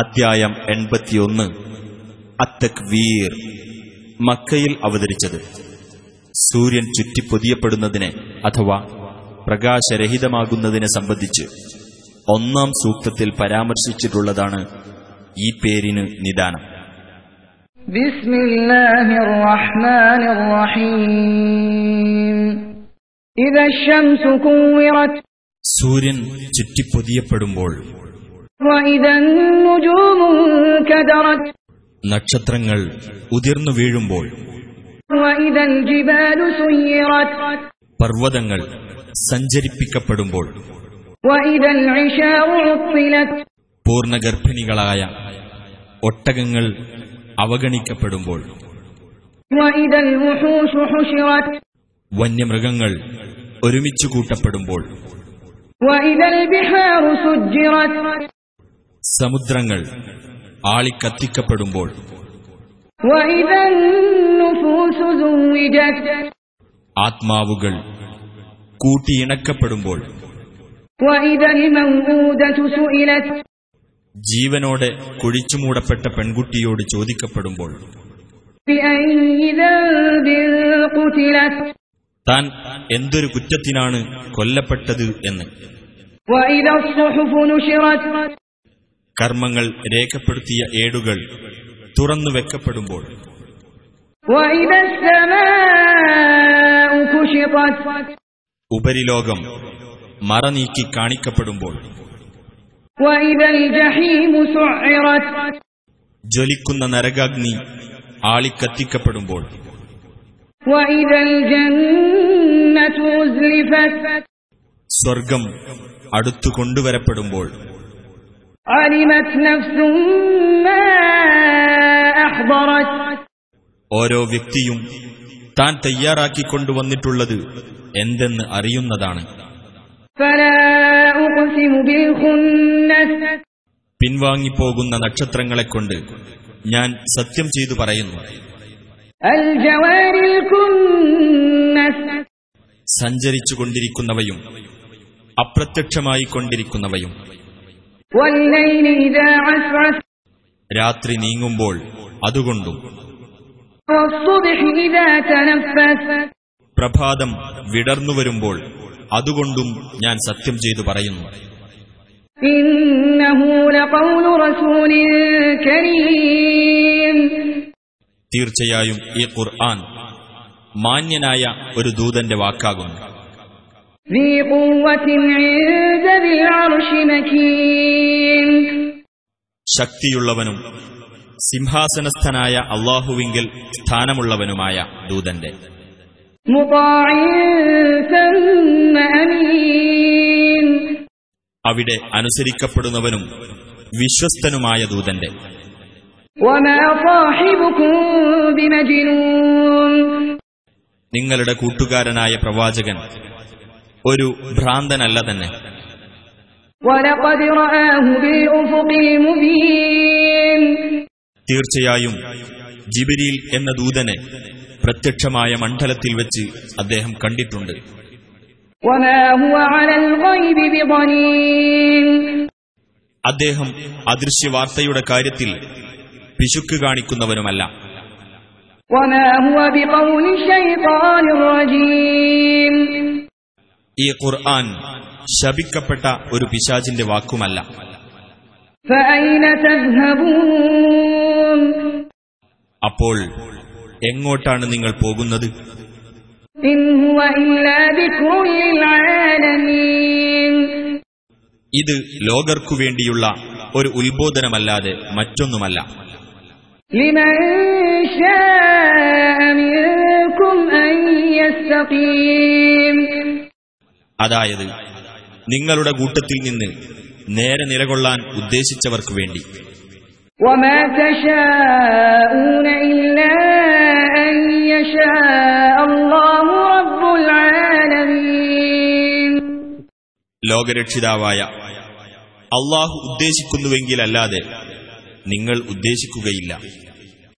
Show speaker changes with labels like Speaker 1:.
Speaker 1: അധ്യായം എൺപത്തിയൊന്ന് അത്തക്വീർ മക്കയിൽ അവതരിച്ചത് സൂര്യൻ ചുറ്റിപ്പൊതിയപ്പെടുന്നതിനെ അഥവാ പ്രകാശരഹിതമാകുന്നതിനെ സംബന്ധിച്ച് ഒന്നാം സൂക്തത്തിൽ പരാമർശിച്ചിട്ടുള്ളതാണ് ഈ പേരിന് നിദാനം
Speaker 2: بسم الله الرحمن الرحيم إذا الشمس كورت
Speaker 1: സൂര്യൻ ചുറ്റിപ്പൊതിയപ്പെടുമ്പോൾ
Speaker 2: وإذا النجوم انكدرت
Speaker 1: നക്ഷത്രങ്ങൾ ഉതിർന്നു വീഴുമ്പോൾ
Speaker 2: وإذا الجبال سيرت
Speaker 1: പർവ്വതങ്ങൾ സഞ്ചരിപ്പിക്കപ്പെടുമ്പോൾ
Speaker 2: وإذا العشار عطلت
Speaker 1: പൂർണ്ണഗർഭിണികളായ ഒട്ടകങ്ങൾ അവഗണിക്കപ്പെടുമ്പോൾ
Speaker 2: وإذا الوحوش حشرت
Speaker 1: വന്യമൃഗങ്ങൾ ഒരുമിച്ചു കൂട്ടപ്പെടുമ്പോൾ
Speaker 2: وإذا البحار سجرت
Speaker 1: സമുദ്രങ്ങൾ ആളിക്കത്തിക്കപ്പെടുമ്പോൾ
Speaker 2: وإذا النفوس زوجت
Speaker 1: ആത്മാവുകൾ കൂട്ടിയിണക്കപ്പെടുമ്പോൾ
Speaker 2: وإذا الموءودة سئلت
Speaker 1: ജീവനോടെ കുഴിച്ചുമൂടപ്പെട്ട പെൺകുട്ടിയോട് ചോദിക്കപ്പെടുമ്പോൾ
Speaker 2: بأي ذنب قتلت
Speaker 1: താൻ എന്തൊരു കുറ്റത്തിനാണ് കൊല്ലപ്പെട്ടത് എന്ന്
Speaker 2: وإذا الصحف نشرت
Speaker 1: കർമ്മങ്ങൾ രേഖപ്പെടുത്തിയ ഏടുകൾ തുറന്നു വെക്കപ്പെടുമ്പോൾ
Speaker 2: وإذا السماء كشطت
Speaker 1: ഉപരിലോകം മറനീക്കി കാണിക്കപ്പെടുമ്പോൾ
Speaker 2: وإذا الجحيم سعرت
Speaker 1: ജ്വലിക്കുന്ന നരകാഗ്നി ആളിക്കത്തിക്കപ്പെടുമ്പോൾ
Speaker 2: وإذا الجنة أزلفت
Speaker 1: സ്വർഗം അടുത്തു കൊണ്ടുവരപ്പെടുമ്പോൾ
Speaker 2: علمت نفس ما أحضرت
Speaker 1: ഓരോ വ്യക്തിയും താൻ തയ്യാറാക്കിക്കൊണ്ടുവന്നിട്ടുള്ളത് എന്തെന്ന് അറിയുന്നതാണ്
Speaker 2: فلا أقسم بالخنس
Speaker 1: പിൻവാങ്ങിപ്പോകുന്ന നക്ഷത്രങ്ങളെക്കൊണ്ട് ഞാൻ സത്യം ചെയ്തു പറയുന്നു
Speaker 2: الجوار الكنس
Speaker 1: സഞ്ചരിച്ചുകൊണ്ടിരിക്കുന്നവയും അപ്രത്യക്ഷമായിക്കൊണ്ടിരിക്കുന്നവയും
Speaker 2: والليل إذا عسعس
Speaker 1: രാത്രി നീങ്ങുമ്പോൾ അതുകൊണ്ടും
Speaker 2: والصبح إذا تنفس
Speaker 1: പ്രഭാതം വിടർന്നു വരുമ്പോൾ അതുകൊണ്ടും ഞാൻ സത്യം ചെയ്തു പറയുന്നു
Speaker 2: إنه لقول رسول كريم
Speaker 1: തീർച്ചയായും ഈ ഖുർആൻ മാന്യനായ ഒരു ദൂതന്റെ വാക്കാകുന്നു
Speaker 2: ذي قوة عند ذي العرش مكين
Speaker 1: ശക്തിയുള്ളവനും സിംഹാസനസ്ഥനായ അള്ളാഹുവിങ്കിൽ സ്ഥാനമുള്ളവനുമായ ദൂതന്റെ
Speaker 2: مطاع ثم أمين
Speaker 1: അവിടെ അനുസരിക്കപ്പെടുന്നവനും വിശ്വസ്തനുമായ ദൂതന്റെ
Speaker 2: وما صاحبكم بمجنون
Speaker 1: നിങ്ങളുടെ കൂട്ടുകാരനായ പ്രവാചകൻ ഒരു ഭ്രാന്തനല്ല തന്നെ
Speaker 2: ولقد رآه بالأفق المبين
Speaker 1: തീർച്ചയായും ജിബിരിൽ എന്ന ദൂതനെ പ്രത്യക്ഷമായ മണ്ഡലത്തിൽ വെച്ച് അദ്ദേഹം കണ്ടിട്ടുണ്ട്
Speaker 2: وما هو على الغيب بضنين
Speaker 1: അദ്ദേഹം അദൃശ്യവാർത്തയുടെ കാര്യത്തിൽ പിശുക്ക് കാണിക്കുന്നവനുമല്ല
Speaker 2: وما هو بقول شيطان رجيم
Speaker 1: ഈ ഖുർആൻ ശപിക്കപ്പെട്ട ഒരു പിശാചിന്റെ വാക്കുമല്ല
Speaker 2: فأين تذهبون
Speaker 1: അപ്പോൾ എങ്ങോട്ടാണ് നിങ്ങൾ പോകുന്നത്
Speaker 2: إن هو إلا ذكر للعالمين
Speaker 1: ഇത് ലോകർക്കു വേണ്ടിയുള്ള ഒരു ഉത്ബോധനമല്ലാതെ മറ്റൊന്നുമല്ല
Speaker 2: لمن شاء منكم أن يستقيم
Speaker 1: അതായത് നിങ്ങളുടെ കൂട്ടത്തിൽ നിന്ന് നേരെ നിലകൊള്ളാൻ ഉദ്ദേശിച്ചവർക്കു വേണ്ടി
Speaker 2: وما تشاءون إلا أن يشاء الله رب العالمين
Speaker 1: ലോകരക്ഷിതാവായ അള്ളാഹു ഉദ്ദേശിക്കുന്നുവെങ്കിലല്ലാതെ നിങ്ങൾ ഉദ്ദേശിക്കുകയില്ല